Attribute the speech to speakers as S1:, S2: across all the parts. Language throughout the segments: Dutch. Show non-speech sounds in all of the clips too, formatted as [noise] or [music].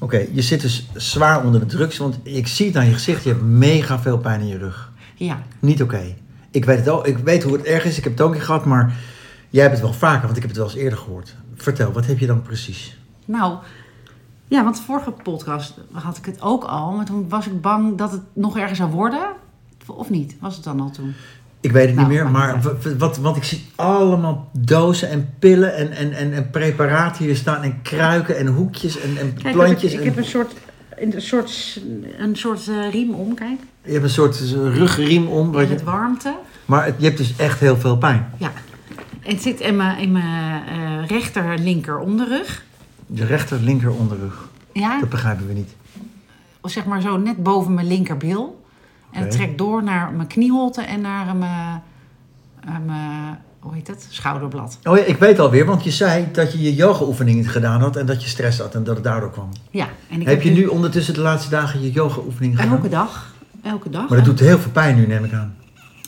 S1: Oké, je zit dus zwaar onder de drugs, want ik zie het aan je gezicht. Je hebt mega veel pijn in je rug.
S2: Ja,
S1: Niet oké. Ik weet het al. Ik weet hoe het erg is. Ik heb het ook een keer gehad, maar jij hebt het wel vaker, want ik heb het wel eens eerder gehoord. Vertel, wat heb je dan precies?
S2: nou. Ja, want de vorige podcast had ik het ook al. Maar toen was ik bang dat het nog erger zou worden. Of niet? Was het dan al toen?
S1: Ik weet het
S2: Nou,
S1: niet meer,
S2: maakt
S1: maar
S2: niet
S1: w- w- wat, want ik zie allemaal dozen en pillen en, en, en, en preparaten hier staan en kruiken en hoekjes en, en
S2: Kijk,
S1: plantjes.
S2: ik,
S1: en-
S2: heb een soort, een soort, een soort eh, riem om, kijk.
S1: Je hebt een soort eh, rugriem om, wat
S2: Met
S1: je,
S2: het warmte.
S1: maar het- je hebt dus echt heel veel pijn.
S2: Ja. En het zit in mijn, in mijn eh, rechter, linker onderrug.
S1: De rechter, linker onderrug.
S2: Ja,
S1: Dat begrijpen we niet.
S2: of zeg maar zo net boven mijn linkerbil. En het
S1: Oké.
S2: trekt door naar mijn knieholte en naar mijn, eh, mijn hoe heet het, schouderblad.
S1: Oh ja, ik weet alweer, want je zei dat je je yoga-oefening niet gedaan had en dat je stress had en dat het daardoor kwam.
S2: Ja. En ik dus-
S1: heb je nu ondertussen de laatste dagen je yoga-oefening gedaan?
S2: Elke dag. Elke dag.
S1: Maar dat doet heel veel pijn nu, neem ik aan.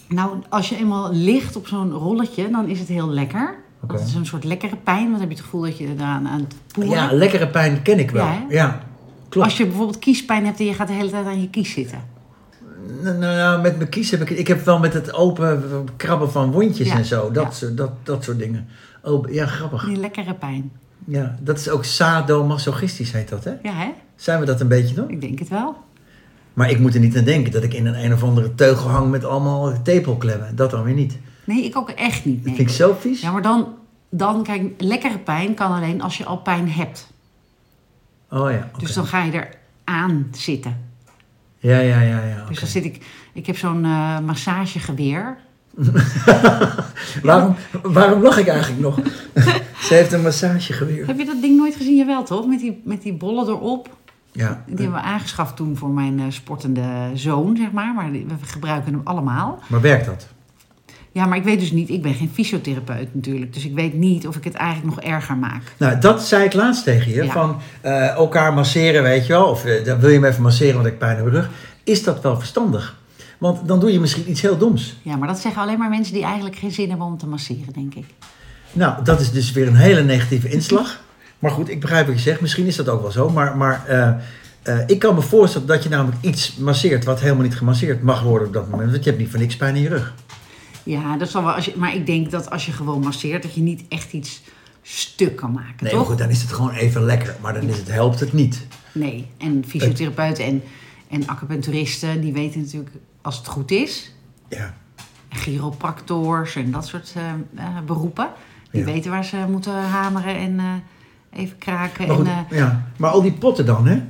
S2: Nou, als je eenmaal ligt op zo'n rolletje, dan is het heel lekker.
S1: Oké.
S2: Dat is een soort lekkere pijn, want dan heb je het gevoel dat je eraan aan het poelen.
S1: Ja, lekkere pijn ken ik wel.
S2: Ja,
S1: Ja,
S2: hè?
S1: klopt.
S2: Als je bijvoorbeeld kiespijn hebt en je gaat de hele tijd aan je kies zitten.
S1: Nou, nou ja, met mijn kies heb ik... Ik heb wel met het open krabben van wondjes
S2: Ja,
S1: en zo. Dat,
S2: ja.
S1: soort- dat, dat soort dingen. Oh, ja, grappig.
S2: Die lekkere pijn.
S1: Ja, dat is ook sadomasochistisch heet dat, hè?
S2: Ja, hè?
S1: Zijn we dat een beetje dan?
S2: Ik denk het wel.
S1: Maar ik moet er niet aan denken dat ik in een een of andere teugel hang met allemaal tepelklemmen. Dat dan weer niet.
S2: Nee, ik ook echt niet.
S1: Dat
S2: Nee.
S1: vind ik zo vies.
S2: Ja, maar dan, dan, kijk, lekkere pijn kan alleen als je al pijn hebt.
S1: Oh ja, oké.
S2: Dus dan ga je er aan zitten.
S1: Ja, ja, ja, ja.
S2: Dus
S1: oké.
S2: dan zit ik, ik heb zo'n eh, massagegeweer.
S1: Waarom, waarom lach ik eigenlijk nog? [laughs] Ze heeft een massagegeweer.
S2: Heb je dat ding nooit gezien? Jawel, toch? Met die, met die bollen erop.
S1: Ja.
S2: Die hebben we aangeschaft toen voor mijn eh, sportende zoon, zeg maar. Maar die- we gebruiken hem allemaal.
S1: Maar werkt dat?
S2: Ja, maar ik weet dus niet, ik ben geen fysiotherapeut natuurlijk. Dus ik weet niet of ik het eigenlijk nog erger maak.
S1: Nou, dat zei ik laatst tegen je.
S2: Ja.
S1: Van eh, elkaar masseren, weet je wel. Of eh, dan wil je me even masseren, want ik heb pijn in mijn rug. Is dat wel verstandig? Want dan doe je misschien iets heel doms.
S2: Ja, maar dat zeggen alleen maar mensen die eigenlijk geen zin hebben om te masseren, denk ik.
S1: Nou, dat is dus weer een hele negatieve inslag. Maar goed, ik begrijp wat je zegt. Misschien is dat ook wel zo. Maar, maar eh, eh, ik kan me voorstellen dat je namelijk iets masseert... wat helemaal niet gemasseerd mag worden op dat moment. Want je hebt niet voor niks pijn in je rug.
S2: Ja, dat zal wel. Als je, maar ik denk dat als je gewoon masseert, dat je niet echt iets stuk kan maken,
S1: Nee,
S2: toch?
S1: maar goed, dan is het gewoon even lekker. Maar dan is het, helpt het niet.
S2: Nee, en fysiotherapeuten en, en acupuncturisten, die weten natuurlijk als het goed is.
S1: Ja.
S2: En chiropractors en dat soort eh, eh, beroepen. Die
S1: Ja.
S2: weten waar ze moeten hameren en eh, even kraken.
S1: Maar,
S2: en,
S1: goed,
S2: eh,
S1: ja. maar al die potten dan, hè?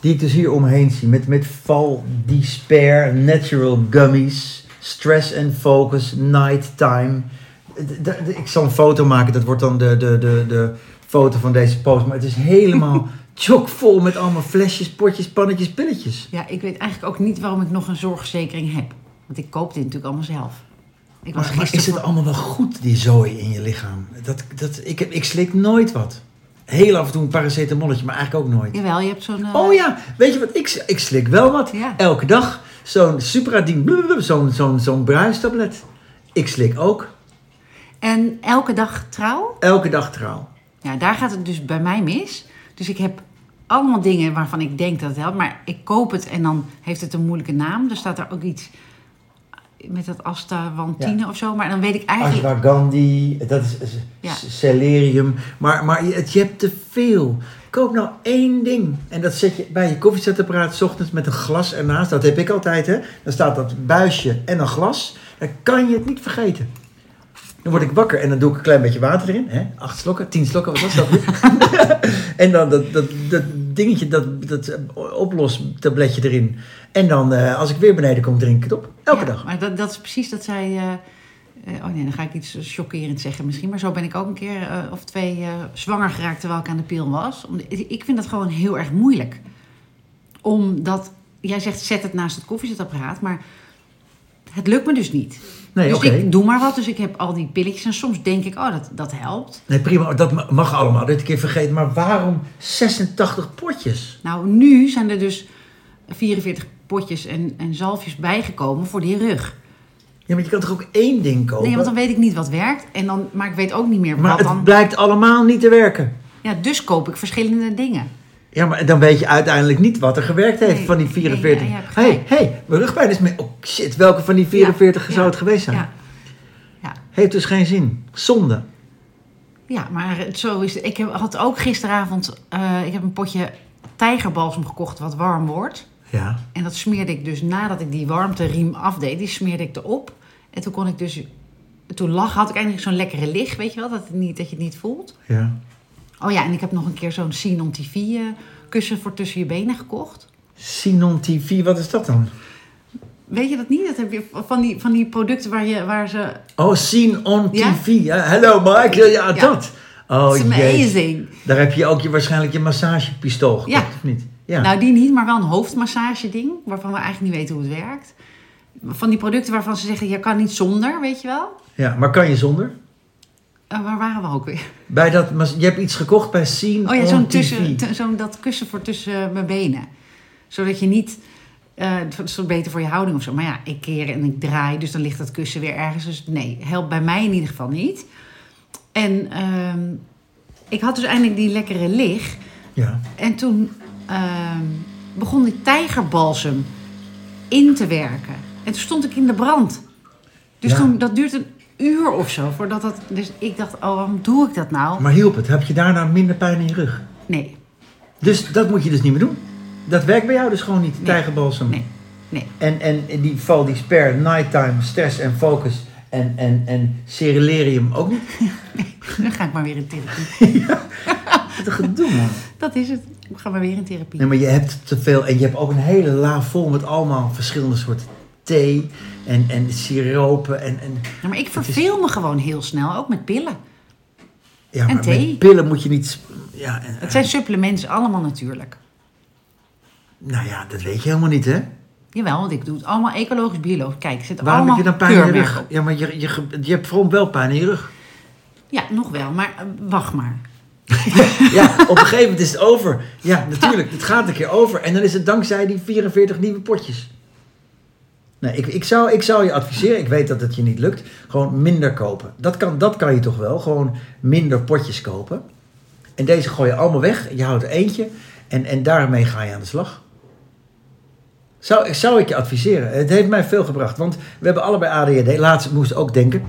S1: Die ik dus hier omheen zie. Met, met Val Despair, Natural Gummies, Stress and Focus, Nighttime. D- d- d- Ik zal een foto maken, dat wordt dan de, de, de, de foto van deze post. Maar het is
S2: [laughs]
S1: helemaal chockvol met allemaal flesjes, potjes, pannetjes, pilletjes.
S2: Ja, ik weet eigenlijk ook niet waarom ik nog een zorgverzekering heb. Want ik koop dit natuurlijk allemaal zelf. Ik was
S1: Maar, maar
S2: gisteren
S1: is het
S2: voor-
S1: allemaal wel goed, die zooi in je lichaam? Dat, dat, ik, heb- ik slik nooit wat. Heel af en toe een paracetamolletje, maar eigenlijk ook nooit.
S2: Jawel, je hebt zo'n... eh,
S1: Oh ja, weet je wat? Ik, ik slik wel wat.
S2: Ja.
S1: Elke dag zo'n Supradin, blablabla, zo'n zo'n zo'n bruistablet. Ik slik ook.
S2: En elke dag trouw?
S1: Elke dag trouw.
S2: Ja, daar gaat het dus bij mij mis. Dus ik heb allemaal dingen waarvan ik denk dat het helpt. Maar ik koop het en dan heeft het een moeilijke naam. Er staat daar ook iets met dat Astawantine of zo. Maar dan weet ik eigenlijk...
S1: Ashwagandhi, dat is is-
S2: Ja.
S1: is celerium. Maar, maar je, het- je hebt te veel. Koop nou één ding. En dat zet je bij je koffiezetapparaat 's ochtends met een glas ernaast. Dat heb ik altijd, hè. Dan staat dat buisje en een glas. Dan kan je het niet vergeten. Dan word ik wakker en dan doe ik een klein beetje water erin. Hè? Acht slokken, tien slokken, wat was dat? [laughs] en dan dat, dat, dat dingetje, dat, dat oplostabletje erin. En dan, eh, als ik weer beneden kom, drink ik het op. Elke
S2: Ja,
S1: dag.
S2: Maar dat, dat is precies dat zij... eh, eh, oh nee, dan ga ik iets chockerends zeggen misschien. Maar zo ben ik ook een keer eh, of twee eh, zwanger geraakt terwijl ik aan de pil was. Om- ik vind dat gewoon heel erg moeilijk. Omdat, jij zegt zet het naast het koffiezetapparaat, maar het lukt me dus niet.
S1: Nee,
S2: dus
S1: oké.
S2: ik doe maar wat, dus ik heb al die pilletjes en soms denk ik, oh dat, dat helpt.
S1: Nee, prima, dat ma- mag allemaal. Dit keer vergeten. Maar waarom 86 potjes?
S2: Nou, nu zijn er dus 44 potjes en, en zalfjes bijgekomen voor die rug.
S1: Ja, maar je kan toch ook één ding kopen?
S2: Nee, want dan weet ik niet wat werkt. En dan, maar ik weet ook niet meer
S1: Oh, maar
S2: wat
S1: het
S2: dan...
S1: blijkt allemaal niet te werken.
S2: Ja, dus koop ik verschillende dingen.
S1: Ja, maar dan weet je uiteindelijk niet wat er gewerkt heeft
S2: Nee,
S1: van die
S2: nee,
S1: 44.
S2: ja, je hebt
S1: hey,
S2: gelijk.
S1: hey, mijn rugpijn is mee. Oh shit, welke van die 44
S2: Ja,
S1: zou
S2: ja,
S1: het geweest zijn?
S2: Ja. Ja.
S1: Heeft dus geen zin. Zonde.
S2: ja, maar het- zo is het. Ik heb, had ook gisteravond... eh, ik heb een potje tijgerbalsem gekocht wat warm wordt.
S1: Ja.
S2: En dat smeerde ik dus nadat ik die warmteriem afdeed. Die smeerde ik erop. En toen kon ik dus... Toen lag, had ik eigenlijk zo'n lekkere licht, weet je wel? Dat, het niet, dat je het niet voelt.
S1: Ja.
S2: Oh ja, en ik heb nog een keer zo'n Sinon TV eh, kussen voor tussen je benen gekocht.
S1: Sinon TV, wat is dat dan?
S2: Weet je dat niet? Dat heb je van die, van die producten waar, je, waar ze...
S1: Oh, Seen on
S2: Ja?
S1: TV. Ja, Hello Mike. Ja, ja,
S2: Ja.
S1: dat. Oh,
S2: It's
S1: jee.
S2: amazing.
S1: Daar heb je ook je, waarschijnlijk je massagepistool gekocht,
S2: Ja.
S1: of niet? Ja.
S2: Nou, die niet, maar wel een hoofdmassage ding. Waarvan we eigenlijk niet weten hoe het werkt. Van die producten waarvan ze zeggen, je kan niet zonder, weet je wel.
S1: ja. Maar kan je zonder?
S2: Eh, waar waren we ook weer?
S1: Bij dat, mas- je hebt iets gekocht bij Seen
S2: Oh ja,
S1: on
S2: zo'n
S1: TV.
S2: tussen- tu- zo'n dat kussen voor tussen mijn benen. Zodat je niet... eh, het is wel beter voor je houding of zo. Maar ja, ik keer en ik draai, dus dan ligt dat kussen weer ergens. Dus nee, helpt bij mij in ieder geval niet. En ehm, ik had dus eindelijk die lekkere lig.
S1: Ja.
S2: En toen ehm, begon die tijgerbalsem in te werken. En toen stond ik in de brand. Dus
S1: Ja.
S2: toen, dat duurt een uur of zo voordat dat... Dus ik dacht, oh, waarom doe ik dat nou?
S1: Maar hielp het? Heb je daarna minder pijn in je rug?
S2: Nee,
S1: Dus dat moet je dus niet meer doen. Dat werkt bij jou dus gewoon niet, tijgerbalsem.
S2: nee, nee. [laughs]
S1: En, en die val die sper, nighttime, stress en focus en, en, en cerularium ook niet.
S2: Dan ga ik maar weer in therapie.
S1: Wat een gedoe,
S2: [laughs]
S1: man.
S2: Dat is het. Ik ga maar weer in therapie.
S1: Nee, maar je hebt te veel en je hebt ook een hele la vol met allemaal verschillende soorten thee en, en siropen en... en
S2: Ja, maar ik verveel me gewoon heel snel, ook met pillen.
S1: ja, maar
S2: thee.
S1: met pillen moet je niet... sp- Ja, en-
S2: Het zijn supplementen, allemaal natuurlijk.
S1: nou ja, dat weet je helemaal niet, hè?
S2: Jawel, want ik doe het allemaal ecologisch, biologisch. Kijk, er zitten
S1: Waarom
S2: allemaal
S1: heb je dan pijn in je
S2: keurmerken
S1: rug?
S2: op.
S1: Ja, maar je, je, ge- je hebt vooral wel pijn in je rug.
S2: Ja, nog wel, maar eh, wacht maar.
S1: Ja, op een gegeven moment is het over. Ja, natuurlijk. Het gaat een keer over. En dan is het dankzij die 44 nieuwe potjes. Nee, ik, ik, zou, ik zou je adviseren, ik weet dat het je niet lukt, gewoon minder kopen. Dat kan, dat kan je toch wel, gewoon minder potjes kopen. En deze gooi je allemaal weg, je houdt er eentje en, en daarmee ga je aan de slag. Zou, zou ik je adviseren. Het heeft mij veel gebracht, want we hebben allebei ADHD. Laatst moest ik ook denken,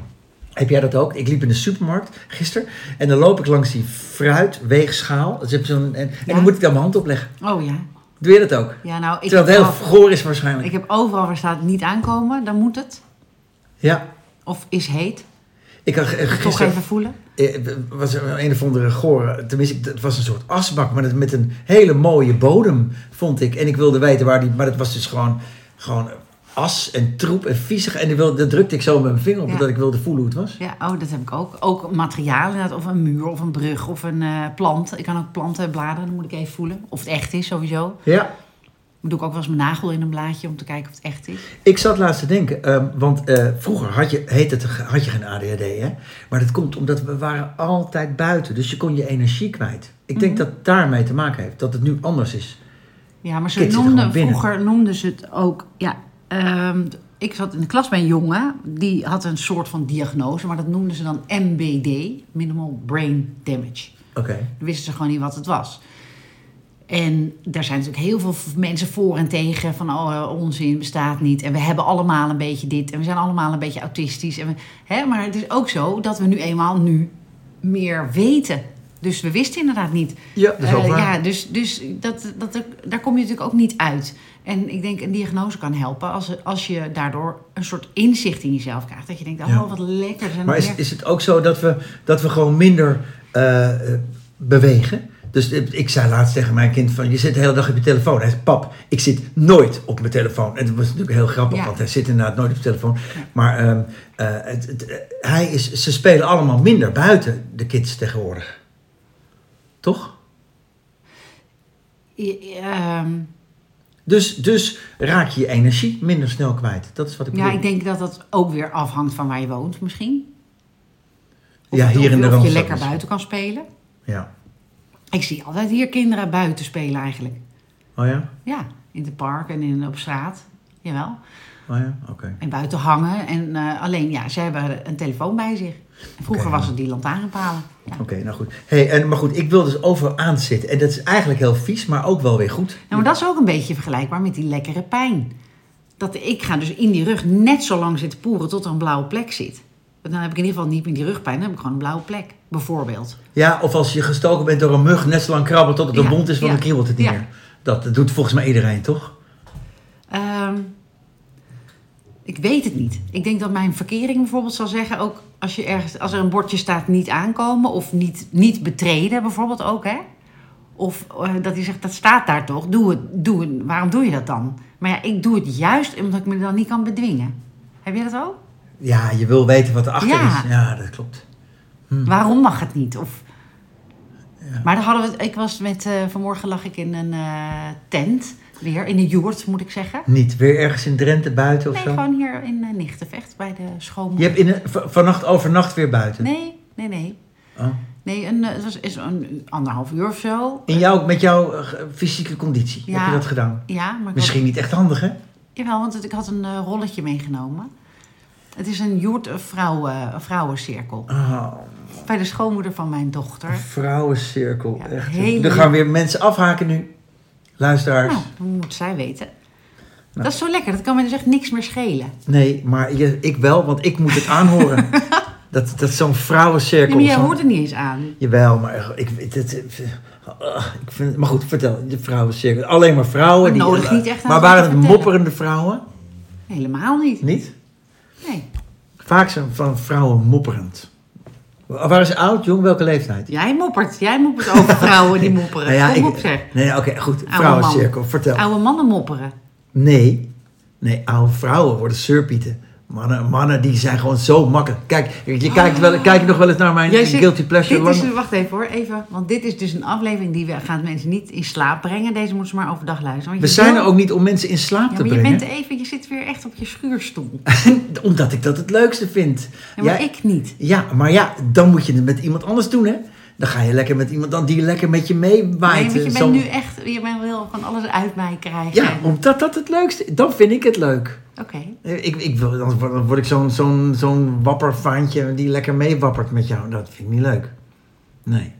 S1: heb jij dat ook? Ik liep in de supermarkt gisteren en dan loop ik langs die fruitweegschaal. Dus je hebt zo'n- en, en
S2: Ja.
S1: dan moet ik daar mijn hand op leggen.
S2: Oh ja.
S1: Doe je dat ook?
S2: Ja, nou, ik,
S1: Terwijl het heel
S2: heb al-
S1: goor is waarschijnlijk.
S2: ik heb overal waar staat niet aankomen, dan moet het.
S1: Ja,
S2: Of is heet.
S1: ik had eh,
S2: Toch
S1: gisteren...
S2: even voelen.
S1: Eh, was er een of andere gore, tenminste, het was een soort asbak, maar dat met een hele mooie bodem, vond ik. En ik wilde weten waar die, maar dat was dus gewoon, gewoon as en troep en viezig. En ik wilde, daar drukte ik zo met mijn vinger op,
S2: Ja.
S1: omdat ik wilde voelen hoe het was.
S2: Ja, oh, dat heb ik ook. Ook materiaal inderdaad, of een muur, of een brug, of een eh, plant. Ik kan ook planten en bladeren, dan moet ik even voelen. Of het echt is, sowieso.
S1: Ja,
S2: Dan doe ik ook wel eens mijn nagel in een blaadje om te kijken of het echt is.
S1: ik zat laatst te denken, ehm, want eh, vroeger had je, heet het, had je geen ADHD, hè? Maar dat komt omdat we waren altijd buiten, dus je kon je energie kwijt. Ik
S2: Mhm.
S1: denk dat daarmee te maken heeft, dat het nu anders is.
S2: Ja, maar ze
S1: Kids zitten
S2: noemden,
S1: gewoon binnen.
S2: vroeger noemden ze het ook... Ja, ehm, ik zat in de klas bij een jongen, die had een soort van diagnose. Maar dat noemden ze dan MBD, Minimal Brain Damage.
S1: Oké.
S2: Dan wisten ze gewoon niet wat het was. En daar zijn natuurlijk heel veel v- mensen voor en tegen. Van oh, eh, onzin bestaat niet. En we hebben allemaal een beetje dit. En we zijn allemaal een beetje autistisch. En we, hè? Maar het is ook zo dat we nu eenmaal nu meer weten. Dus we wisten inderdaad niet.
S1: Ja, dat is ook
S2: Eh,
S1: waar.
S2: ja, dus, dus dat, dat, daar kom je natuurlijk ook niet uit. En ik denk, een diagnose kan helpen als, als je daardoor een soort inzicht in jezelf krijgt. Dat je denkt, oh,
S1: Ja.
S2: wat lekker. er zijn
S1: Maar is,
S2: meer-
S1: is het ook zo dat we, dat we gewoon minder eh, eh, bewegen? Dus eh, ik zei laatst tegen mijn kind van, je zit de hele dag op je telefoon. Hij zei, pap, ik zit nooit op mijn telefoon. En dat was natuurlijk heel grappig,
S2: Ja.
S1: want hij zit inderdaad nooit op zijn telefoon. Maar ehm, eh, het, het- eh, hij is, ze spelen allemaal minder buiten, de kids tegenwoordig. Toch?
S2: Je- je, ehm,
S1: Dus, dus raak je je energie minder snel kwijt. Dat is wat ik
S2: Ja,
S1: bedoel.
S2: ik denk dat dat ook weer afhangt van waar je woont misschien.
S1: ja, hier
S2: of,
S1: in de
S2: Of je
S1: Randstad
S2: lekker
S1: misschien.
S2: buiten kan spelen.
S1: Ja.
S2: Ik zie altijd hier kinderen buiten spelen eigenlijk.
S1: Oh ja?
S2: Ja, in het park en in, op straat. Jawel.
S1: Oh ja, oké.
S2: En buiten hangen. En eh, alleen, ja, ze hebben een telefoon bij zich. En vroeger
S1: Oké.
S2: was het die lantaarnpalen. Ja.
S1: Oké, nou goed. Hey, en, maar goed, ik wil dus over aanzitten. En dat is eigenlijk heel vies, maar ook wel weer goed.
S2: Nou, maar dat is ook een beetje vergelijkbaar met die lekkere pijn. Dat ik ga dus in die rug net zo lang zitten poeren tot er een blauwe plek zit. Want dan heb ik in ieder geval niet meer die rugpijn, dan heb ik gewoon een blauwe plek, bijvoorbeeld.
S1: Ja, of als je gestoken bent door een mug, net zo lang krabben tot het een
S2: Ja,
S1: wond is, want
S2: ja,
S1: dan kriebelt het niet
S2: ja.
S1: meer. Dat, dat doet volgens mij iedereen, toch?
S2: Ehm, ik weet het niet. Ik denk dat mijn verkering bijvoorbeeld zal zeggen, ook als, je ergens, als er een bordje staat niet aankomen of niet, niet betreden bijvoorbeeld ook, hè. Of eh, dat hij zegt, dat staat daar toch, doe het, doe het, waarom doe je dat dan? Maar ja, ik doe het juist omdat ik me dan niet kan bedwingen. Heb jij dat ook?
S1: Ja, je wil weten wat erachter
S2: Ja.
S1: is. Ja, dat klopt.
S2: Waarom mag het niet? Of... Maar dan hadden we, het- ik was met, eh, vanmorgen lag ik in een eh, tent, weer in een joert moet ik zeggen.
S1: Niet weer ergens in Drenthe buiten of
S2: Nee,
S1: zo?
S2: gewoon hier in eh, Nichtenvecht bij de schoonmoeder.
S1: Je hebt in een- v- vannacht overnacht weer buiten?
S2: Nee, nee, nee.
S1: Oh.
S2: Nee, een, eh, het was is een anderhalf uur of zo.
S1: In jou, met jouw eh, ge- fysieke conditie heb
S2: Ja.
S1: je dat gedaan?
S2: Ja, maar ik had-
S1: Misschien niet echt handig, hè?
S2: jawel, want het- ik had een eh, rolletje meegenomen. Het is een joert een vrouwen, een vrouwencirkel.
S1: Oh,
S2: Bij de schoonmoeder van mijn dochter.
S1: vrouwencirkel.
S2: Ja,
S1: echt.
S2: hele-
S1: Er gaan weer mensen afhaken nu. Luisteraars.
S2: Nou, dat moet zij weten.
S1: Nou.
S2: Dat is zo lekker, dat kan me dus echt niks meer schelen.
S1: Nee, maar je- ik wel, want ik moet het
S2: [laughs]
S1: aanhoren. dat dat zo'n
S2: Ja,
S1: vrouwencirkel.
S2: maar jij
S1: zo'n-
S2: hoort er niet eens aan.
S1: Jawel, maar ik, dit, eh, ik vind het... Maar goed, vertel. De vrouwencirkel. Alleen maar vrouwen.
S2: Maar nodig niet echt aan
S1: maar
S2: ze
S1: waren het
S2: te vertellen.
S1: mopperende vrouwen?
S2: Helemaal niet.
S1: Niet?
S2: Nee.
S1: Vaak zijn van vrouwen mopperend. Waren ze oud, jong? Welke leeftijd?
S2: Jij moppert. Jij moppert over
S1: [laughs]
S2: vrouwen die mopperen.
S1: Nou ja,
S2: Kom op
S1: ik,
S2: zeg.
S1: nee, oké, goed.
S2: man.
S1: Vrouwencirkel, vertel.
S2: Oude mannen mopperen.
S1: Nee, nee, oude vrouwen worden surpieten. Mannen, mannen die zijn gewoon zo makkelijk. Kijk, je je kijkt wel, kijk nog wel eens naar mijn
S2: Jij zit-
S1: guilty pleasure.
S2: Dit is,
S1: lang-
S2: wacht even hoor, even. Want dit is dus een aflevering die we, gaat mensen niet in slaap brengen. Deze moeten ze maar overdag luisteren. want
S1: We
S2: je
S1: zijn
S2: wil-
S1: er ook niet om mensen in slaap
S2: Ja,
S1: te
S2: maar je
S1: brengen.
S2: bent even, je zit weer echt op je schuurstoel.
S1: [laughs] Omdat ik dat het leukste vind.
S2: Ja, maar
S1: ja,
S2: ik niet.
S1: ja, maar ja, dan moet je het met iemand anders doen, hè? Dan ga je lekker met iemand dan die lekker met je
S2: Nee,
S1: meewaait. eh,
S2: want je bent
S1: Zo-
S2: nu echt, je bent wil van alles uit mij krijgen.
S1: Ja, omdat dat het leukste Dan vind ik het leuk.
S2: Oké.
S1: Eh, Ik, ik, wil- dan word- dan word ik zo'n zo'n zo'n wappervaantje die lekker meewappert met jou. Dat vind ik niet leuk. Nee.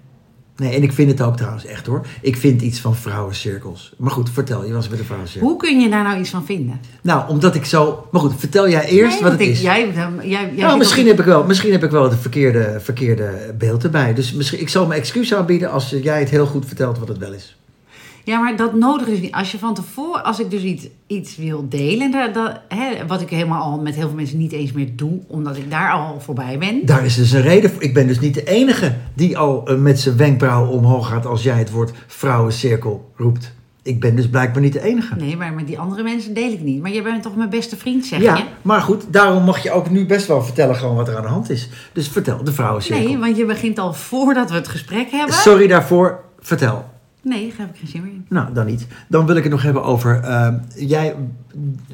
S1: Nee, en ik vind het ook trouwens echt hoor. Ik vind iets van vrouwencirkels. Maar goed, vertel, je was bij de vrouwencirkel.
S2: Hoe kun je daar nou iets van vinden?
S1: Nou, omdat ik zo... Maar goed, vertel jij eerst
S2: Nee,
S1: wat
S2: want
S1: het
S2: ik-
S1: is.
S2: Jij, jij, jij zit
S1: nou,
S2: op-
S1: misschien heb, ik wel, misschien heb ik wel de verkeerde, verkeerde beeld erbij. Dus misschien, ik zal mijn excuus aanbieden als jij het heel goed vertelt wat het wel is.
S2: Ja, maar dat nodig is niet. Als je van tevoren, als ik dus iets, iets wil delen, dat, dat, hè, wat ik helemaal al met heel veel mensen niet eens meer doe, omdat ik daar al voorbij ben.
S1: Daar is dus een reden voor. Ik ben dus niet de enige die al eh, met zijn wenkbrauw omhoog gaat als jij het woord vrouwencirkel roept. Ik ben dus blijkbaar niet de enige.
S2: Nee, maar met die andere mensen deel ik niet. Maar jij bent toch mijn beste vriend, zeg
S1: ja,
S2: je?
S1: maar goed, daarom mag je ook nu best wel vertellen gewoon wat er aan de hand is. Dus vertel, de vrouwencirkel.
S2: Nee, want je begint al voordat we het gesprek hebben.
S1: Sorry daarvoor, vertel.
S2: Nee, daar heb ik geen zin meer in.
S1: Nou, dan niet. Dan wil ik het nog hebben over, eh, jij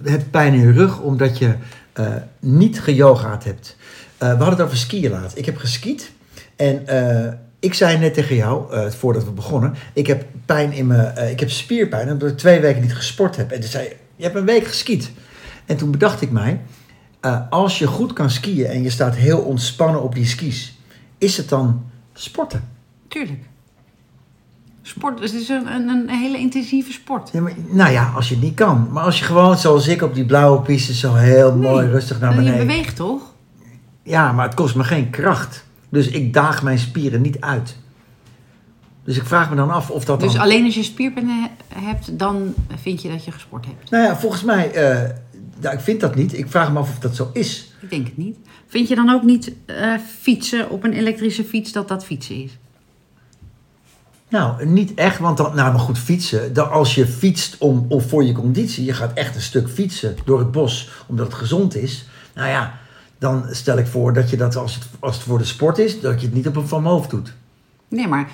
S1: hebt pijn in je rug omdat je eh, niet geyogaat hebt. Eh, we hadden het over skiën laat. Ik heb geskiet en eh, ik zei net tegen jou, eh, voordat we begonnen, ik heb pijn in mijn, eh, ik heb spierpijn omdat ik twee weken niet gesport heb. En toen zei je, je hebt een week geskiet. En toen bedacht ik mij, eh, als je goed kan skiën en je staat heel ontspannen op die skis, is het dan sporten?
S2: Tuurlijk. Sport, het is een, een, een hele intensieve sport.
S1: Ja, maar, nou ja, als je het niet kan. Maar als je gewoon zoals ik op die blauwe piste zo heel mooi
S2: Nee.
S1: rustig naar
S2: Je
S1: beneden.
S2: beweegt toch?
S1: Ja, maar het kost me geen kracht. Dus ik daag mijn spieren niet uit. Dus ik vraag me dan af of dat
S2: Dus
S1: dan...
S2: alleen als je spierpijn he- hebt, dan vind je dat je gesport hebt.
S1: Nou ja, volgens mij... eh, nou, ik vind dat niet. Ik vraag me af of dat zo is.
S2: Ik denk het niet. Vind je dan ook niet eh, fietsen op een elektrische fiets dat dat fietsen is?
S1: Nou, niet echt, want dan... Nou, maar goed, fietsen. Dan als je fietst om, om voor je conditie... Je gaat echt een stuk fietsen door het bos, omdat het gezond is. Nou ja, dan stel ik voor dat je dat als het, als het voor de sport is... dat je het niet op een van mijn hoofd doet.
S2: Nee, maar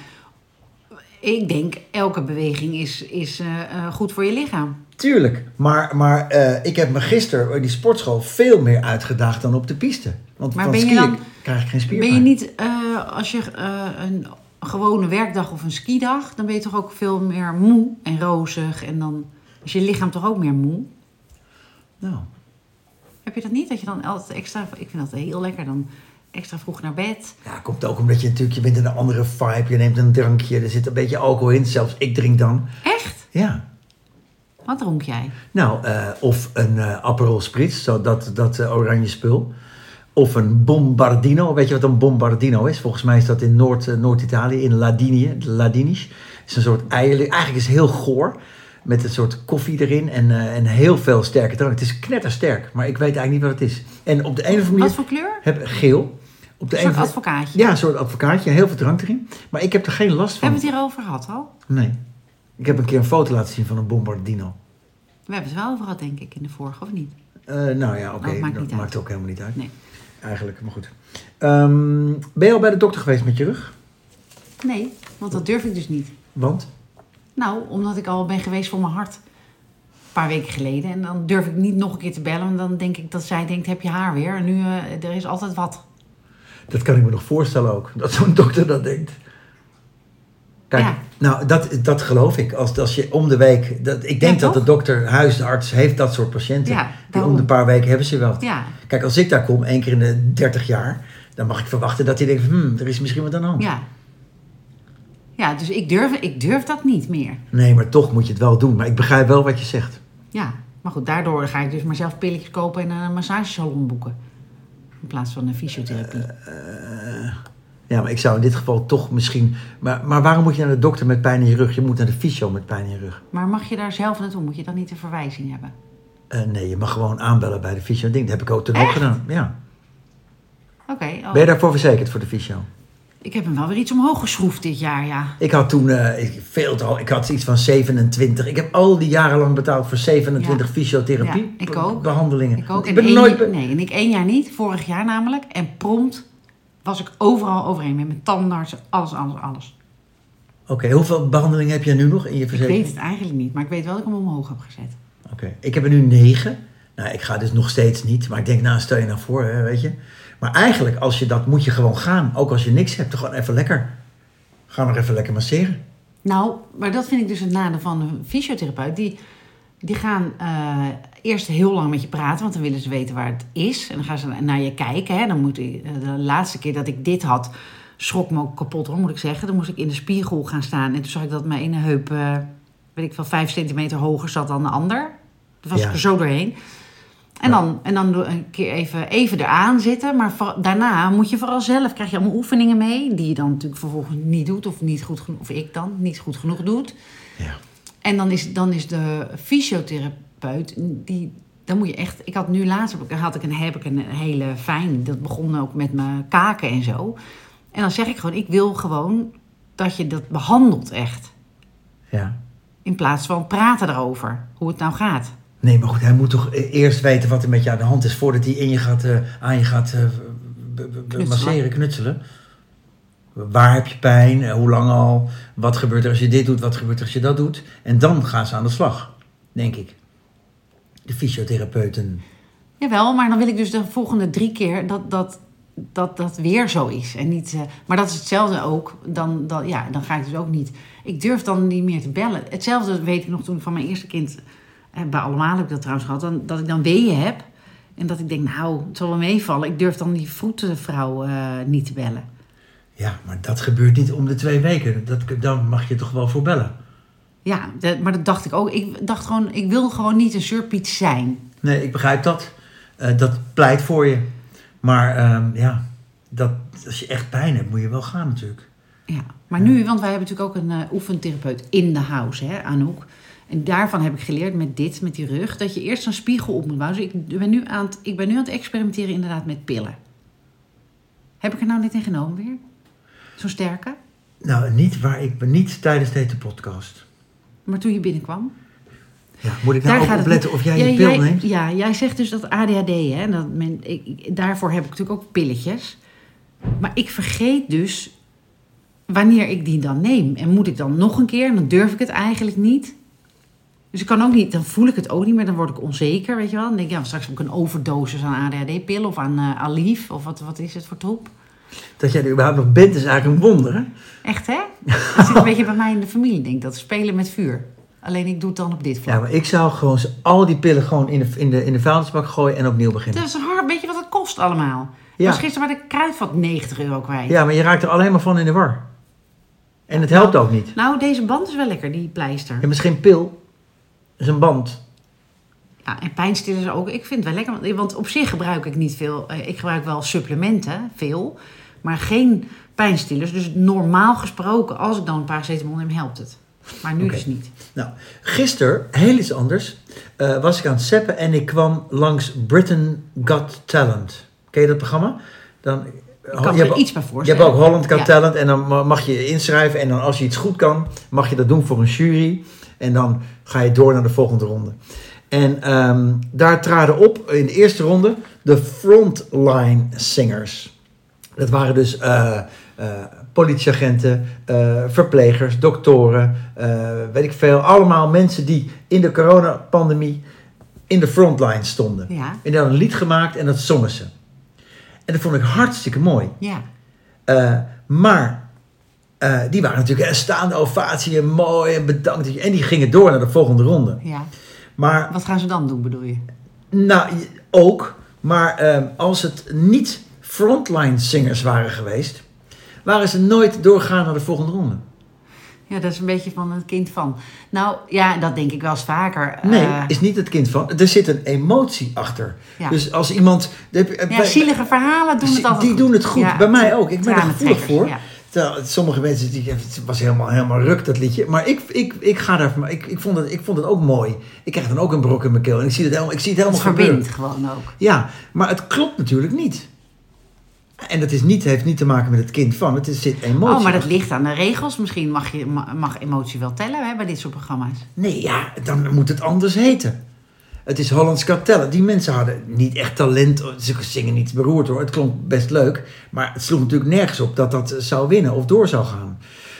S2: ik denk elke beweging is, is eh, eh, goed voor je lichaam.
S1: Tuurlijk, maar, maar eh, ik heb me gisteren in die sportschool veel meer uitgedaagd dan op de piste. Want
S2: Maar
S1: van
S2: ben je
S1: skiën
S2: dan-
S1: krijg ik geen spierpijn.
S2: Ben je niet, eh, als je eh, een gewone werkdag of een skidag, dan ben je toch ook veel meer moe en rozig. En dan is je lichaam toch ook meer moe?
S1: Nou,
S2: Heb je dat niet? Dat je dan altijd extra... Ik vind dat heel lekker dan extra vroeg naar bed.
S1: Ja, komt ook omdat je natuurlijk, je bent in een andere vibe. Je neemt een drankje, er zit een beetje alcohol in. Zelfs ik drink dan.
S2: Echt?
S1: Ja.
S2: Wat dronk jij?
S1: Nou, eh, of een eh, Aperol Spritz, zo dat, dat eh, oranje spul. Of een Bombardino. Weet je wat een Bombardino is? Volgens mij is dat in Noord, eh, Noord-Italië, in Ladinië. Ladinisch. Het is een soort eieren. Eigenlijk is het heel goor. Met een soort koffie erin en, eh, en heel veel sterke drank. Het is knettersterk, maar ik weet eigenlijk niet wat het is. En op de een of andere
S2: Wat
S1: manier
S2: voor kleur?
S1: heb geel. Op de
S2: Een
S1: een of andere-
S2: soort advocaatje.
S1: Ja, een soort advocaatje, heel veel drank erin. Maar ik heb er geen last
S2: We hebben
S1: van.
S2: het hierover gehad al.
S1: Nee. Ik heb een keer een foto laten zien van een bombardino.
S2: We hebben het wel over gehad, denk ik, in de vorige, of niet?
S1: Eh, nou ja, oké,
S2: Oh, maakt
S1: dat
S2: niet uit.
S1: maakt ook helemaal niet uit.
S2: Nee.
S1: Eigenlijk, maar goed. Ehm, ben je al bij de dokter geweest met je rug?
S2: Nee, want dat durf ik dus niet.
S1: Want?
S2: Nou, omdat ik al ben geweest voor mijn hart. Een paar weken geleden. En dan durf ik niet nog een keer te bellen. Want dan denk ik dat zij denkt, heb je haar weer? En nu, eh, er is altijd wat.
S1: Dat kan ik me nog voorstellen ook, dat zo'n dokter dat denkt. Kijk,
S2: Ja.
S1: nou, dat, dat geloof ik. Als, als je om de week... Dat, ik denk
S2: Ja,
S1: dat de
S2: toch?
S1: dokter, huisarts, heeft dat soort patiënten.
S2: Ja,
S1: die
S2: daarom.
S1: om de paar weken hebben ze wel.
S2: Ja,
S1: Kijk, als ik daar kom, één keer in de 30 jaar... dan mag ik verwachten dat hij denkt, hmm, er is misschien wat aan de hand.
S2: ja. Ja, dus ik durf, ik durf dat niet meer.
S1: Nee, maar toch moet je het wel doen. Maar ik begrijp wel wat je zegt.
S2: Ja, maar goed, daardoor ga ik dus maar zelf pilletjes kopen en een massagesalon boeken. In plaats van een fysiotherapie.
S1: Ja, maar ik zou in dit geval toch misschien... Maar, maar waarom moet je naar de dokter met pijn in je rug? Je moet naar de fysio met pijn in je rug.
S2: Maar mag je daar zelf naartoe? Moet je dan niet een verwijzing hebben?
S1: Eh, nee, je mag gewoon aanbellen bij de fysio. Ding. Dat heb ik ook toen ook
S2: Echt? Oh.
S1: gedaan. Ja.
S2: Oké, oh.
S1: Ben je daarvoor verzekerd voor de fysio?
S2: ik heb hem wel weer iets omhoog geschroefd dit jaar, ja.
S1: Ik had toen eh, ik- veel te al. Ik had iets van 27. Ik heb al die jaren lang betaald voor 27
S2: Ja.
S1: fysiotherapie.
S2: Ja, ik ook.
S1: Behandelingen.
S2: Ik ook.
S1: Ik
S2: En
S1: ben
S2: één
S1: nooit...
S2: jaar-
S1: be-
S2: nee, en ik één jaar niet. Vorig jaar namelijk. En prompt was ik overal overheen. Met mijn tandartsen, alles, alles, alles.
S1: Oké, hoeveel behandelingen heb jij nu nog in je
S2: Ik
S1: verzekering?
S2: weet het eigenlijk niet. Maar ik weet wel dat ik hem omhoog heb gezet.
S1: Oké, ik heb er nu negen. Nou, ik ga dus nog steeds niet. Maar ik denk, nou, stel je nou voor, hè, weet je. Maar eigenlijk, als je dat, moet je gewoon gaan. Ook als je niks hebt, gewoon even lekker. Ga maar even lekker masseren.
S2: Nou, maar dat vind ik dus het nadeel van een fysiotherapeut. Die, die gaan eh, eerst heel lang met je praten, want dan willen ze weten waar het is. En dan gaan ze naar je kijken. Hè. Dan moet, ik- eh, de laatste keer dat ik dit had, schrok me ook kapot hoor, moet ik zeggen. Dan moest ik in de spiegel gaan staan en toen zag ik dat mijn ene heup, eh, weet ik veel, vijf centimeter hoger zat dan de ander. Toen was
S1: Ja.
S2: ik er zo doorheen. En dan, en dan een keer even, even eraan zitten. Maar voor- daarna moet je vooral zelf, krijg je allemaal oefeningen mee. Die je dan natuurlijk vervolgens niet doet. Of, niet goed genoeg, of ik dan niet goed genoeg doet.
S1: Ja.
S2: En dan is, dan is de fysiotherapeut, die, dan moet je echt... Ik had nu laatst, heb ik, had ik een, heb ik een hele fijn... Dat begon ook met mijn kaken en zo. En dan zeg ik gewoon, ik wil gewoon dat je dat behandelt echt.
S1: Ja.
S2: In plaats van praten erover, hoe het nou gaat.
S1: Nee, maar goed, hij moet toch e- eerst weten wat er met je aan de hand is... voordat hij in je gaat, eh, aan je gaat eh, b- b- b-
S2: Knutselen.
S1: masseren, knutselen. Waar heb je pijn? Eh, Hoe lang al? Wat gebeurt er als je dit doet? Wat gebeurt er als je dat doet? En dan gaan ze aan de slag, denk ik. De fysiotherapeuten.
S2: Jawel, maar dan wil ik dus de volgende drie keer dat dat, dat, dat weer zo is. En niet, eh, maar dat is hetzelfde ook. Dan, dan, ja, dan ga ik dus ook niet. Ik durf dan niet meer te bellen. Hetzelfde weet ik nog toen ik van mijn eerste kind. eh, Bij allemaal heb ik dat trouwens gehad. Dan, dat ik dan weeën heb. En dat ik denk, nou, het zal wel meevallen. Ik durf dan die vroetenvrouw eh, niet te bellen.
S1: Ja, maar dat gebeurt niet om de twee weken. Dat, daar mag je toch wel voor bellen?
S2: Ja, dat- maar dat dacht ik ook. Ik dacht gewoon, ik wil gewoon niet een surpiet zijn.
S1: Nee, ik begrijp dat. Eh, dat pleit voor je. Maar ehm, ja, dat, als je echt pijn hebt, moet je wel gaan natuurlijk.
S2: Ja, maar nu, want wij hebben natuurlijk ook een eh, oefentherapeut in de house, hè, Anouk. En daarvan heb ik geleerd met dit, met die rug, dat je eerst een spiegel op moet bouwen. Dus ik ben nu aan het, ik ben nu aan het experimenteren inderdaad met pillen. Heb ik er nou net in genomen weer? Zo'n sterke?
S1: Nou, niet, waar ik, niet tijdens deze podcast.
S2: Maar toen je binnenkwam?
S1: Ja, moet ik nou ook
S2: het
S1: opletten
S2: niet.
S1: of jij
S2: Ja,
S1: je pil neemt?
S2: Ja, jij zegt dus dat ADHD, hè? en Dat men, ik, ik- daarvoor heb ik natuurlijk ook pilletjes. Maar ik vergeet dus wanneer ik die dan neem. En moet ik dan nog een keer? En dan durf ik het eigenlijk niet. Dus ik kan ook niet, dan voel ik het ook niet meer, dan word ik onzeker, weet je wel. Dan denk ik, ja, straks heb ik een overdosis aan ADHD-pillen of aan eh Alif of wat, wat is het voor troep.
S1: Dat jij er überhaupt nog bent is eigenlijk een wonder, hè? [laughs]
S2: Echt, hè? Dat zit een beetje bij mij in de familie, denk ik, dat spelen met vuur. Alleen ik doe het dan op dit vlak.
S1: Ja, maar ik zou gewoon z- al die pillen gewoon in de, in de, in de vuilnisbak gooien en opnieuw beginnen.
S2: Dat is hard. Weet je wat het kost allemaal?
S1: Ja.
S2: Was gisteren bij de kruidvat 90 euro kwijt.
S1: Ja, maar je raakt er alleen maar van in de war. En het helpt ook niet.
S2: Nou, deze band is wel lekker, die pleister.
S1: En misschien pil. Dat is een band.
S2: Ja, en pijnstillers ook. Ik vind het wel lekker. want- Want op zich gebruik ik niet veel. Eh, Ik gebruik wel supplementen, veel. Maar geen pijnstillers. Dus normaal gesproken, als ik dan een paracetamol neem, helpt het. Maar nu
S1: Oké.
S2: dus niet.
S1: Nou, gisteren, heel iets anders, eh, was ik aan het seppen en ik kwam langs Britain Got Talent. Ken je dat programma? Dan, eh,
S2: Ik kan
S1: je
S2: me er
S1: hebt-
S2: iets bij
S1: Je
S2: voorstellen.
S1: hebt ook Holland Got
S2: Ja.
S1: Talent en dan ma- mag je je inschrijven. En dan als je iets goed kan, mag je dat doen voor een jury. En dan ga je door naar de volgende ronde. En ehm, daar traden op in de eerste ronde de frontline singers. Dat waren dus eh, eh, politieagenten, eh, verplegers, doktoren, eh, weet ik veel. Allemaal mensen die in de coronapandemie in de frontline stonden.
S2: Ja,
S1: En die hadden een lied gemaakt en dat zongen ze. En dat vond ik hartstikke mooi.
S2: ja.
S1: Eh, maar eh, die waren natuurlijk een staande ovatie en mooi en bedankt. En die gingen door naar de volgende ronde.
S2: ja.
S1: Maar
S2: Wat gaan ze dan doen, bedoel je?
S1: nou, je- ook, maar ehm, als het niet frontline singers waren geweest, waren ze nooit doorgaan naar de volgende ronde.
S2: Ja, dat is een beetje van het kind van. Nou, ja, dat denk ik wel eens vaker.
S1: Nee,
S2: Eh,
S1: is niet het kind van. Er zit een emotie achter.
S2: Ja.
S1: Dus als iemand.
S2: ja, zielige verhalen doen het altijd
S1: die
S2: goed.
S1: doen het goed.
S2: Ja,
S1: Bij mij ook. Ik ben er gevoelig
S2: tranentrekkers,
S1: voor.
S2: ja.
S1: Terwijl sommige mensen, die, het was helemaal, helemaal ruk dat liedje. Maar ik, ik, ik, ga daar, maar ik, ik, vond het, ik vond het ook mooi. Ik krijg dan ook een brok in mijn keel. En ik zie het helemaal, ik zie het
S2: Het
S1: helemaal gebeuren.
S2: verbindt gewoon ook.
S1: Ja, maar het klopt natuurlijk niet. En dat is niet, heeft niet te maken met het kind van. Het is, zit emotie.
S2: Oh, maar dat
S1: achter.
S2: ligt aan de regels. Misschien mag, je, ma- mag emotie wel tellen hè, bij dit soort programma's.
S1: Nee, ja, dan moet het anders heten. Het is Hollands Got Talent. Die mensen hadden niet echt talent. Ze zingen niet beroerd hoor. Het klonk best leuk. Maar het sloeg natuurlijk nergens op dat dat eh, zou winnen of door zou gaan.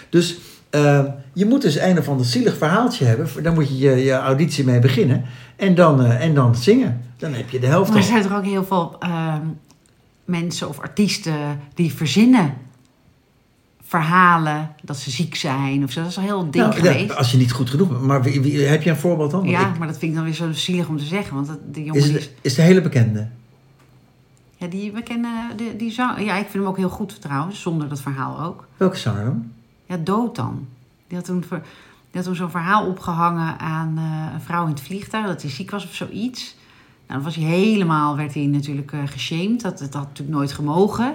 S1: Dus eh, je moet dus een of ander zielig verhaaltje hebben. Dan moet je je, je auditie mee beginnen. En dan, eh, en dan zingen. Dan heb je de helft
S2: Maar er
S1: al.
S2: zijn er ook heel veel ehm, mensen of artiesten die verzinnen verhalen dat ze ziek zijn of zo. Dat is al heel ding
S1: Nou, ja,
S2: geweest.
S1: als je niet goed genoeg bent. Maar wie, wie- heb je een voorbeeld dan? Want
S2: ja,
S1: ik-
S2: maar dat vind ik dan weer zo zielig om te zeggen. Want dat, die jongen
S1: is,
S2: Oh, die,
S1: het, is de hele bekende.
S2: ja, die we kennen, die, die zang, ja, ik vind hem ook heel goed trouwens, zonder dat verhaal ook.
S1: Welke zanger dan?
S2: Ja, dood dan. Die had toen, ver- die had toen zo'n verhaal opgehangen aan eh, een vrouw in het vliegtuig, dat hij ziek was of zoiets. Nou, dan was hij helemaal, werd hij natuurlijk eh geshamed. Dat, dat had natuurlijk nooit gemogen.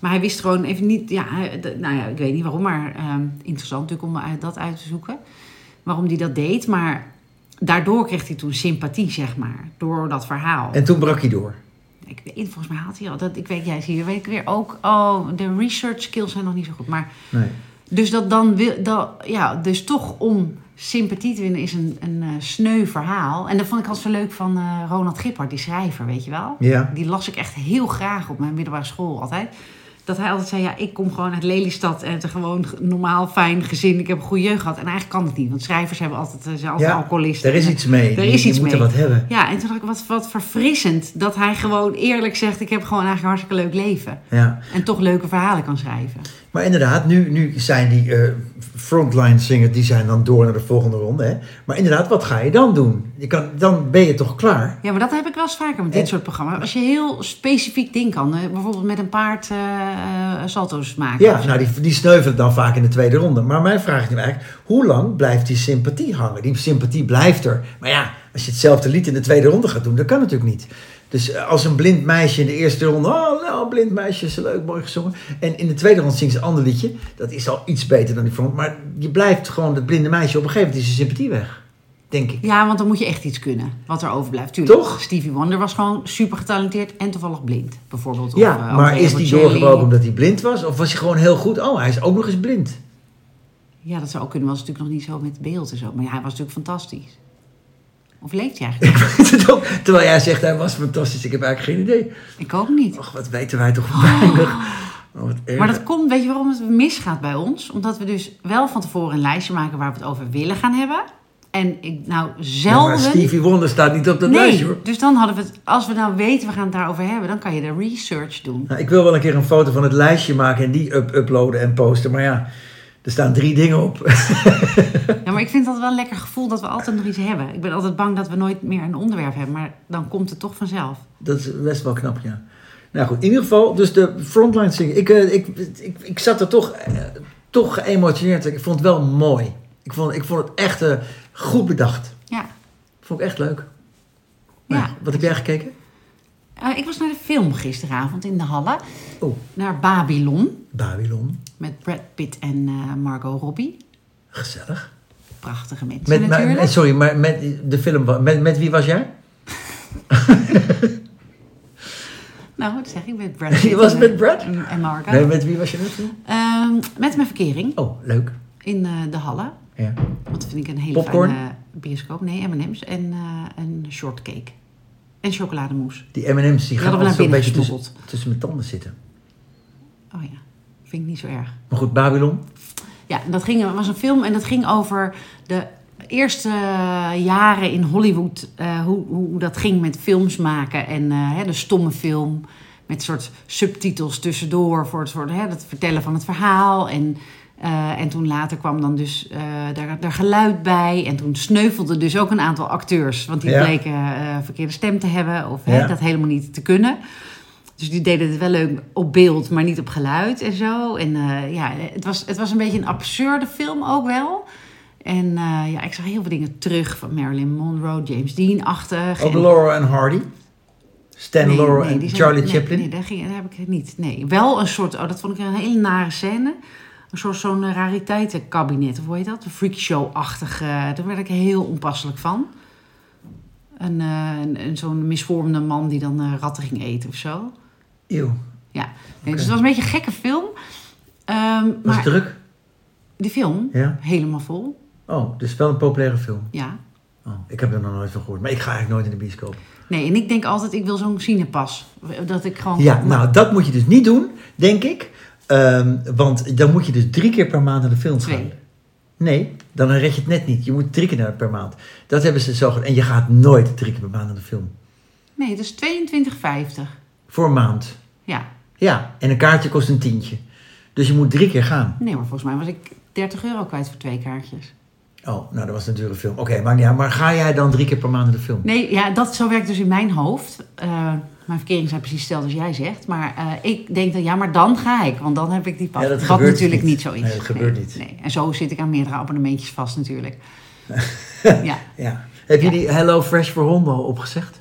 S2: Maar hij wist gewoon even niet, ja, hij- d- nou ja, ik weet niet waarom, maar ehm, interessant natuurlijk om uit- dat uit te zoeken. Waarom hij dat deed, maar daardoor kreeg hij toen sympathie, zeg maar, door dat verhaal.
S1: En toen brak hij door.
S2: Ik weet, volgens mij had hij al, dat, ik weet, jij zie je, weet ik weer ook, oh, de research skills zijn nog niet zo goed, maar...
S1: Nee.
S2: Dus dat dan wil, dat, ja, dus toch om sympathie te winnen is een, een eh, sneu verhaal. En dat vond ik altijd zo leuk van eh, Ronald Gippard, die schrijver, weet je wel.
S1: Ja.
S2: Die las ik echt heel graag op mijn middelbare school altijd. Dat hij altijd zei, ja, ik kom gewoon uit Lelystad en het een gewoon g- normaal fijn gezin. Ik heb een goede jeugd gehad. En eigenlijk kan het niet, want schrijvers hebben altijd, eh, zijn altijd
S1: Ja,
S2: alcoholisten.
S1: Er is iets mee.
S2: Er
S1: Je-
S2: is
S1: je
S2: iets
S1: moet
S2: mee.
S1: er wat hebben.
S2: Ja, en toen dacht ik, wat, wat verfrissend dat hij gewoon eerlijk zegt... ik heb gewoon eigenlijk een hartstikke leuk leven.
S1: Ja.
S2: En toch leuke verhalen kan schrijven.
S1: Maar inderdaad, nu, nu zijn die eh, frontline singers, die zijn dan door naar de volgende ronde. Hè? Maar inderdaad, wat ga je dan doen? Je kan, dan ben je toch klaar?
S2: Ja, maar dat heb ik wel eens vaker met dit
S1: En-
S2: soort programma's. Als je heel specifiek ding kan, eh, bijvoorbeeld met een paard eh, eh, salto's maken.
S1: Ja, nou die, die sneuvelen dan vaak in de tweede ronde. Maar mijn vraag is nu eigenlijk, hoe lang blijft die sympathie hangen? Die sympathie blijft er. Maar ja, als je hetzelfde lied in de tweede ronde gaat doen, dat kan natuurlijk niet. Dus eh, als een blind meisje in de eerste ronde, oh nou, blind meisje, is leuk, mooi gezongen. En in de tweede ronde zingt ze een ander liedje. Dat is al iets beter dan die front. Maar je blijft gewoon dat blinde meisje, op een gegeven moment is de sympathie weg. Denk ik.
S2: Ja, want dan moet je echt iets kunnen, wat er overblijft. Tuurlijk,
S1: Toch?
S2: Stevie Wonder was gewoon super getalenteerd en toevallig blind, bijvoorbeeld.
S1: Ja,
S2: Of, eh,
S1: maar
S2: André
S1: is die
S2: Bocelli.
S1: doorgebroken omdat hij blind was? Of was hij gewoon heel goed? Oh, hij is ook nog eens blind. [laughs]
S2: Ja, dat zou ook kunnen, was natuurlijk nog niet zo met beeld en zo. Maar ja, hij was natuurlijk fantastisch. Of leeft hij eigenlijk? nog?
S1: Het ook- Terwijl jij zegt, hij was fantastisch. Ik heb eigenlijk geen idee.
S2: ik ook niet.
S1: Och, wat weten wij toch weinig. Oh, wat erg.
S2: Maar dat komt, weet je waarom het misgaat bij ons? Omdat we dus wel van tevoren een lijstje maken waar we het over willen gaan hebben. En ik nou
S1: Ja, maar
S2: zelden...
S1: Stevie Wonder staat niet op dat lijstje, hoor.
S2: dus dan hadden we het, als we nou weten we gaan het daarover hebben, dan kan je de
S1: [laughs]
S2: research doen.
S1: Nou, ik wil wel een keer een foto van het lijstje maken en die up uploaden en posten. Maar ja, er staan drie dingen op. [laughs]
S2: Ja, maar ik vind dat wel een lekker gevoel dat we altijd nog iets hebben. Ik ben altijd bang dat we nooit meer een onderwerp hebben, maar dan komt het toch vanzelf.
S1: Dat is best wel knap, ja. Nou goed, in ieder geval, dus de frontline singer. Ik, eh, ik, ik, ik zat er toch, eh, toch geëmotioneerd. Ik vond het wel mooi. Ik vond, ik vond het echt eh, goed bedacht.
S2: Ja.
S1: Vond ik echt leuk.
S2: Ja.
S1: Nou, Wat heb jij gekeken?
S2: Eh, ik was naar de film gisteravond in de Halle,
S1: Oh,
S2: naar Babylon,
S1: Babylon.
S2: met Brad Pitt en eh, Margot Robbie.
S1: Gezellig.
S2: Prachtige mensen
S1: Met, maar,
S2: natuurlijk.
S1: met- sorry, maar met de film, wa- met, met wie was jij?
S2: Nou, dat zeg ik,
S1: [laughs]
S2: met Brad
S1: Je
S2: Pitt
S1: was
S2: en, eh,
S1: met Brad?
S2: en, en Margot.
S1: Nee, met wie was je in de film?
S2: Ehm, met mijn verkering
S1: Oh, leuk.
S2: in eh, de Halle.
S1: Ja.
S2: Dat vind ik een hele
S1: Popcorn?
S2: fijne bioscoop. Nee, M&M's en eh, een shortcake. En chocolademousse.
S1: Die M&M's die gaan
S2: Die hadden we
S1: altijd
S2: naar
S1: zo'n
S2: binnen
S1: beetje tussen,
S2: gesmokkeld.
S1: tussen mijn tanden zitten.
S2: Oh ja, vind ik niet zo erg.
S1: Maar goed, Babylon.
S2: Ja, en dat ging, was een film en dat ging over de eerste eh, jaren in Hollywood. eh, hoe, hoe dat ging met films maken en eh, hè, de stomme film. Met soort subtitels tussendoor voor het, soort, hè, het vertellen van het verhaal. En, eh, en toen later kwam dan dus eh, daar, daar geluid bij. En toen sneuvelden dus ook een aantal acteurs. Want die
S1: Ja.
S2: bleken eh, verkeerde stem te hebben of hè,
S1: Ja.
S2: dat helemaal niet te kunnen. Dus die deden het wel leuk op beeld, maar niet op geluid en zo. En eh, ja, het was, het was een beetje een absurde film ook wel. En eh, ja, ik zag heel veel dingen terug van Marilyn Monroe, James Dean-achtig.
S1: Ook
S2: en-
S1: Laurel en Hardy. Stan
S2: Nee,
S1: Laurel
S2: nee,
S1: en
S2: die zijn-
S1: Charlie
S2: nee,
S1: Chaplin.
S2: Nee, daar, ging, daar heb ik het niet. Nee, wel een soort, oh, dat vond ik een hele nare scène. Een soort zo'n eh, rariteitenkabinet, of hoe heet dat? Een freakshow-achtig. eh, daar werd ik heel onpasselijk van. Een, eh, een, een- zo'n misvormde man die dan eh, ratten ging eten of zo.
S1: Eeuw,
S2: Ja, nee, dus het was een beetje een gekke film. Ehm,
S1: was
S2: maar
S1: druk.
S2: die film,
S1: Ja.
S2: helemaal vol.
S1: Oh, dus wel een populaire film.
S2: Ja.
S1: Oh, ik heb er nog nooit van gehoord, maar ik ga eigenlijk nooit in de bioscoop.
S2: Nee, en ik denk altijd, ik wil zo'n cinepas. Dat ik gewoon...
S1: Ja, nou, dat moet je dus niet doen, denk ik. Ehm, want dan moet je dus drie keer per maand naar de film gaan.
S2: Twee.
S1: Nee, dan red je het net niet. Je moet drie keer naar- per maand. Dat hebben ze zo gedaan. En je gaat nooit drie keer per maand naar de film.
S2: Nee, dat is 22,50.
S1: Voor een maand.
S2: Ja.
S1: Ja, en een kaartje kost een tientje. Dus je moet drie keer gaan.
S2: Nee, maar volgens mij was ik 30 euro kwijt voor twee kaartjes.
S1: Oh, nou, dat was natuurlijk een film. Oké, maar, ja, maar ga jij dan drie keer per maand naar de film?
S2: Nee, ja, dat, zo werkt dus in mijn hoofd. Eh, mijn verkering zijn precies hetzelfde als jij zegt. Maar eh, ik denk dan, ja, maar dan ga ik. Want dan heb ik die pas.
S1: Ja, dat
S2: Wat
S1: gebeurt
S2: natuurlijk
S1: niet.
S2: niet zo is.
S1: Nee, dat gebeurt niet.
S2: Nee. En zo zit ik aan meerdere abonnementjes
S1: [laughs]
S2: vast natuurlijk. ja.
S1: Ja. Heb je die Hello Fresh voor Hondo opgezegd?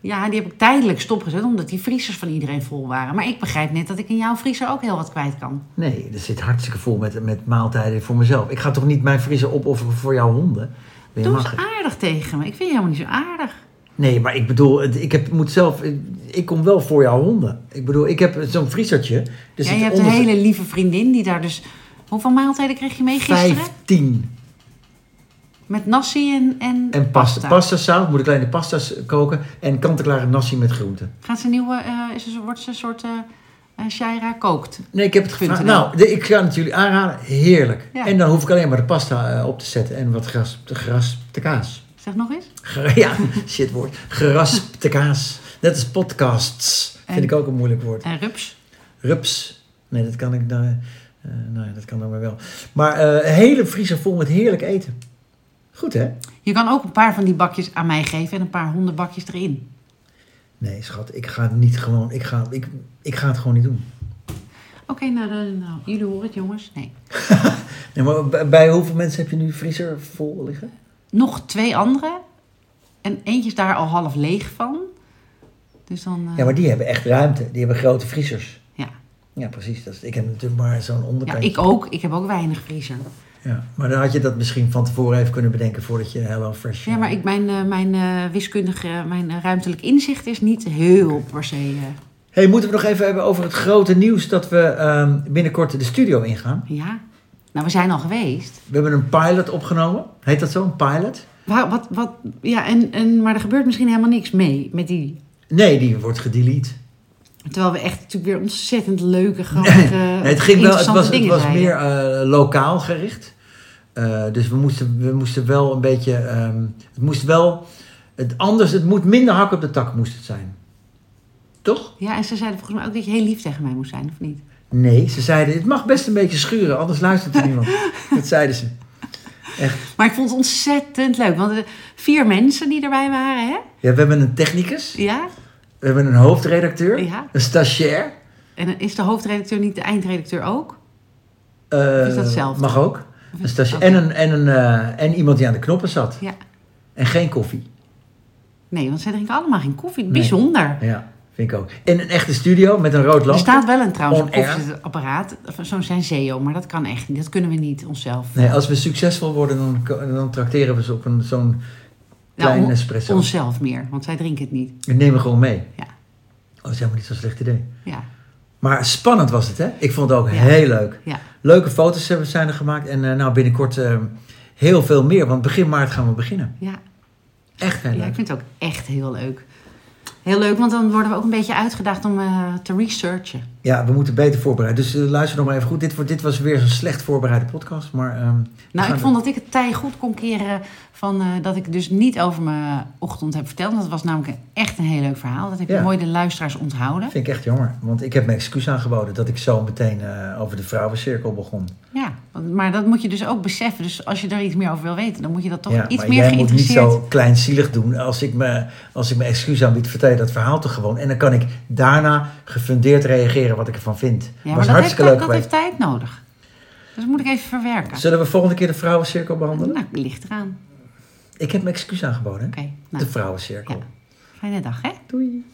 S2: ja, die heb ik tijdelijk stopgezet. Omdat die vriezers van iedereen vol waren. Maar ik begrijp net dat ik in jouw vriezer ook heel wat kwijt kan.
S1: Nee, er zit hartstikke vol met, met maaltijden voor mezelf. Ik ga toch niet mijn vriezer opofferen voor jouw honden? Ben je
S2: Doe eens
S1: mager?
S2: aardig tegen me. Ik vind je helemaal niet zo aardig.
S1: Nee, maar ik bedoel, het- ik heb, moet zelf... Ik kom wel voor jouw honden. Ik bedoel, ik heb zo'n vriezertje. Dus
S2: Ja, je hebt een hele lieve vriendin die daar dus... Hoeveel maaltijden kreeg je mee gisteren?
S1: Vijftien.
S2: Met nasi en, en,
S1: En pasta. Pasta saus, moet ik kleine pasta's koken. En kant-en-klare nasi met groenten.
S2: Gaat ze een nieuwe, eh, is er, zo- wordt ze een soort eh eh, Shaira kookt?
S1: Nee, ik heb het gevraagd.
S2: Punten.
S1: Nou, de- ik ga het jullie aanraden. Heerlijk.
S2: Ah, Ja.
S1: En dan hoef ik alleen maar de pasta eh, op te zetten. En wat gras, de gras, de kaas.
S2: Zeg nog eens.
S1: Ger- [laughs] Ja, shitwoord. Geraspte kaas. Net als podcasts.
S2: En-
S1: Vind ik ook een moeilijk woord.
S2: En Eh, rups.
S1: Rups. Nee, dat kan ik nou... eh, nou ja, dat kan dan maar wel. Maar eh, een hele vriezer vol met heerlijk eten. Goed, hè?
S2: Je kan ook een paar van die bakjes aan mij geven en een paar hondenbakjes erin.
S1: Nee, schat. Ik ga het niet gewoon... Ik ga, ik, ik ga het gewoon niet doen.
S2: Oké, nou, dan- nou, jullie horen het jongens. Nee.
S1: Nee, maar bij- bij hoeveel mensen heb je nu vriezer vol liggen?
S2: Nog twee andere. En eentje is daar al half leeg van. Dus dan... eh,
S1: Ja, maar die hebben echt ruimte. Die hebben grote vriezers.
S2: ja.
S1: Ja, precies. Dat is, ik heb natuurlijk maar zo'n
S2: Ja,
S1: onderkantje.
S2: ik ook. Ik heb ook weinig vriezer.
S1: Ja, maar dan had je dat misschien van tevoren even kunnen bedenken voordat je Hello Fresh...
S2: Ja, maar ik, mijn, eh, mijn eh, wiskundige, mijn eh, ruimtelijk inzicht is niet heel per se... eh,
S1: Hey, moeten we nog even hebben over het grote nieuws dat we ehm, binnenkort de studio ingaan?
S2: ja. Nou, we zijn al geweest.
S1: We hebben een pilot opgenomen. Heet dat zo, een pilot?
S2: Waar, wat, wat, ja, en, en, maar er gebeurt misschien helemaal niks mee met die.
S1: Nee, die wordt gedelete.
S2: Terwijl we echt natuurlijk weer ontzettend
S1: [laughs]
S2: leuke, grappige,
S1: Nee, het, ging wel, het
S2: eh, interessante
S1: was, het
S2: dingen
S1: was
S2: draaien.
S1: meer eh, lokaal gericht. Eh, dus we moesten, we moesten wel een beetje... ehm, het moest wel... Het anders, het moet minder hak op de tak moest het zijn. Toch?
S2: Ja, en ze zeiden volgens mij ook dat je heel lief tegen mij moest zijn, of niet? [laughs]
S1: Nee, ze zeiden, het mag best een beetje schuren, anders luistert er niemand. Dat zeiden ze. Echt.
S2: Maar ik vond het ontzettend leuk. Want er vier mensen die erbij waren, hè?
S1: Ja, we hebben een technicus,
S2: Ja.
S1: we hebben een hoofdredacteur,
S2: Ja.
S1: een stagiair.
S2: En is de hoofdredacteur niet de eindredacteur ook?
S1: eh,
S2: Of is dat hetzelfde?
S1: Mag ook.
S2: Of
S1: Een
S2: is-
S1: stagiair.
S2: oké.
S1: En, een, en, een, eh, en iemand die aan de knoppen zat.
S2: Ja.
S1: En geen koffie.
S2: Nee, want zij drinken allemaal geen koffie.
S1: Nee.
S2: Bijzonder.
S1: Ja, vind ik ook. En een echte studio met een rood
S2: Er
S1: lampje.
S2: staat wel een trouwens
S1: On
S2: een
S1: air.
S2: koffiezetapparaat. Zo'n Senseo, maar dat kan echt niet. Dat kunnen we niet onszelf.
S1: Nee, als we succesvol worden, dan, ko- dan tracteren we ze op een, zo'n
S2: Nou,
S1: klein
S2: on-
S1: espresso.
S2: Onszelf meer, want zij drinken het niet.
S1: En nemen gewoon mee.
S2: Ja.
S1: Oh, dat is helemaal niet zo'n slecht idee.
S2: Ja,
S1: Maar spannend was het, hè? Ik vond het ook
S2: Ja.
S1: heel leuk.
S2: ja.
S1: Leuke foto's hebben, zijn er gemaakt. En eh, nou, binnenkort eh, heel veel meer. Want begin maart gaan we beginnen.
S2: ja.
S1: Echt heel
S2: Ja, ik
S1: leuk.
S2: vind het ook echt heel leuk. Heel leuk, want dan worden we ook een beetje uitgedaagd om eh, te researchen.
S1: Ja, we moeten beter voorbereiden. Dus eh, luister nog maar even goed. Dit, wordt- dit was weer zo'n slecht voorbereide podcast. Maar ehm, we [laughs]
S2: Nou,
S1: gaan-
S2: ik vond dat ik het tij goed kon keren van eh, dat ik dus niet over mijn ochtend heb verteld. Dat was namelijk een- echt een heel leuk verhaal. Dat heb
S1: Ja.
S2: ik mooi de luisteraars onthouden.
S1: vind ik echt jammer. Want ik heb mijn excuus aangeboden dat ik zo meteen eh, over de vrouwencirkel begon.
S2: Ja, want- maar dat moet je dus ook beseffen. Dus als je er iets meer over wil weten, dan moet je dat toch
S1: ja,
S2: iets
S1: maar
S2: meer
S1: jij moet niet
S2: geïnteresseerd...
S1: zo kleinzielig doen. Als ik, me, als ik mijn excuus aanbied, vertel je dat verhaal toch gewoon. En dan kan ik daarna gefundeerd reageren wat ik ervan vind.
S2: Ja, maar
S1: was
S2: dat heeft,
S1: hartstikke
S2: dat,
S1: leuk
S2: dat
S1: geweest.
S2: heeft tijd nodig. Dus dat moet ik even verwerken.
S1: Zullen we volgende keer de vrouwencirkel behandelen?
S2: Nou, ligt eraan.
S1: Ik heb mijn excuus aangeboden. hè?
S2: Oké, nou,
S1: De vrouwencirkel.
S2: ja. fijne dag hè.
S1: Doei.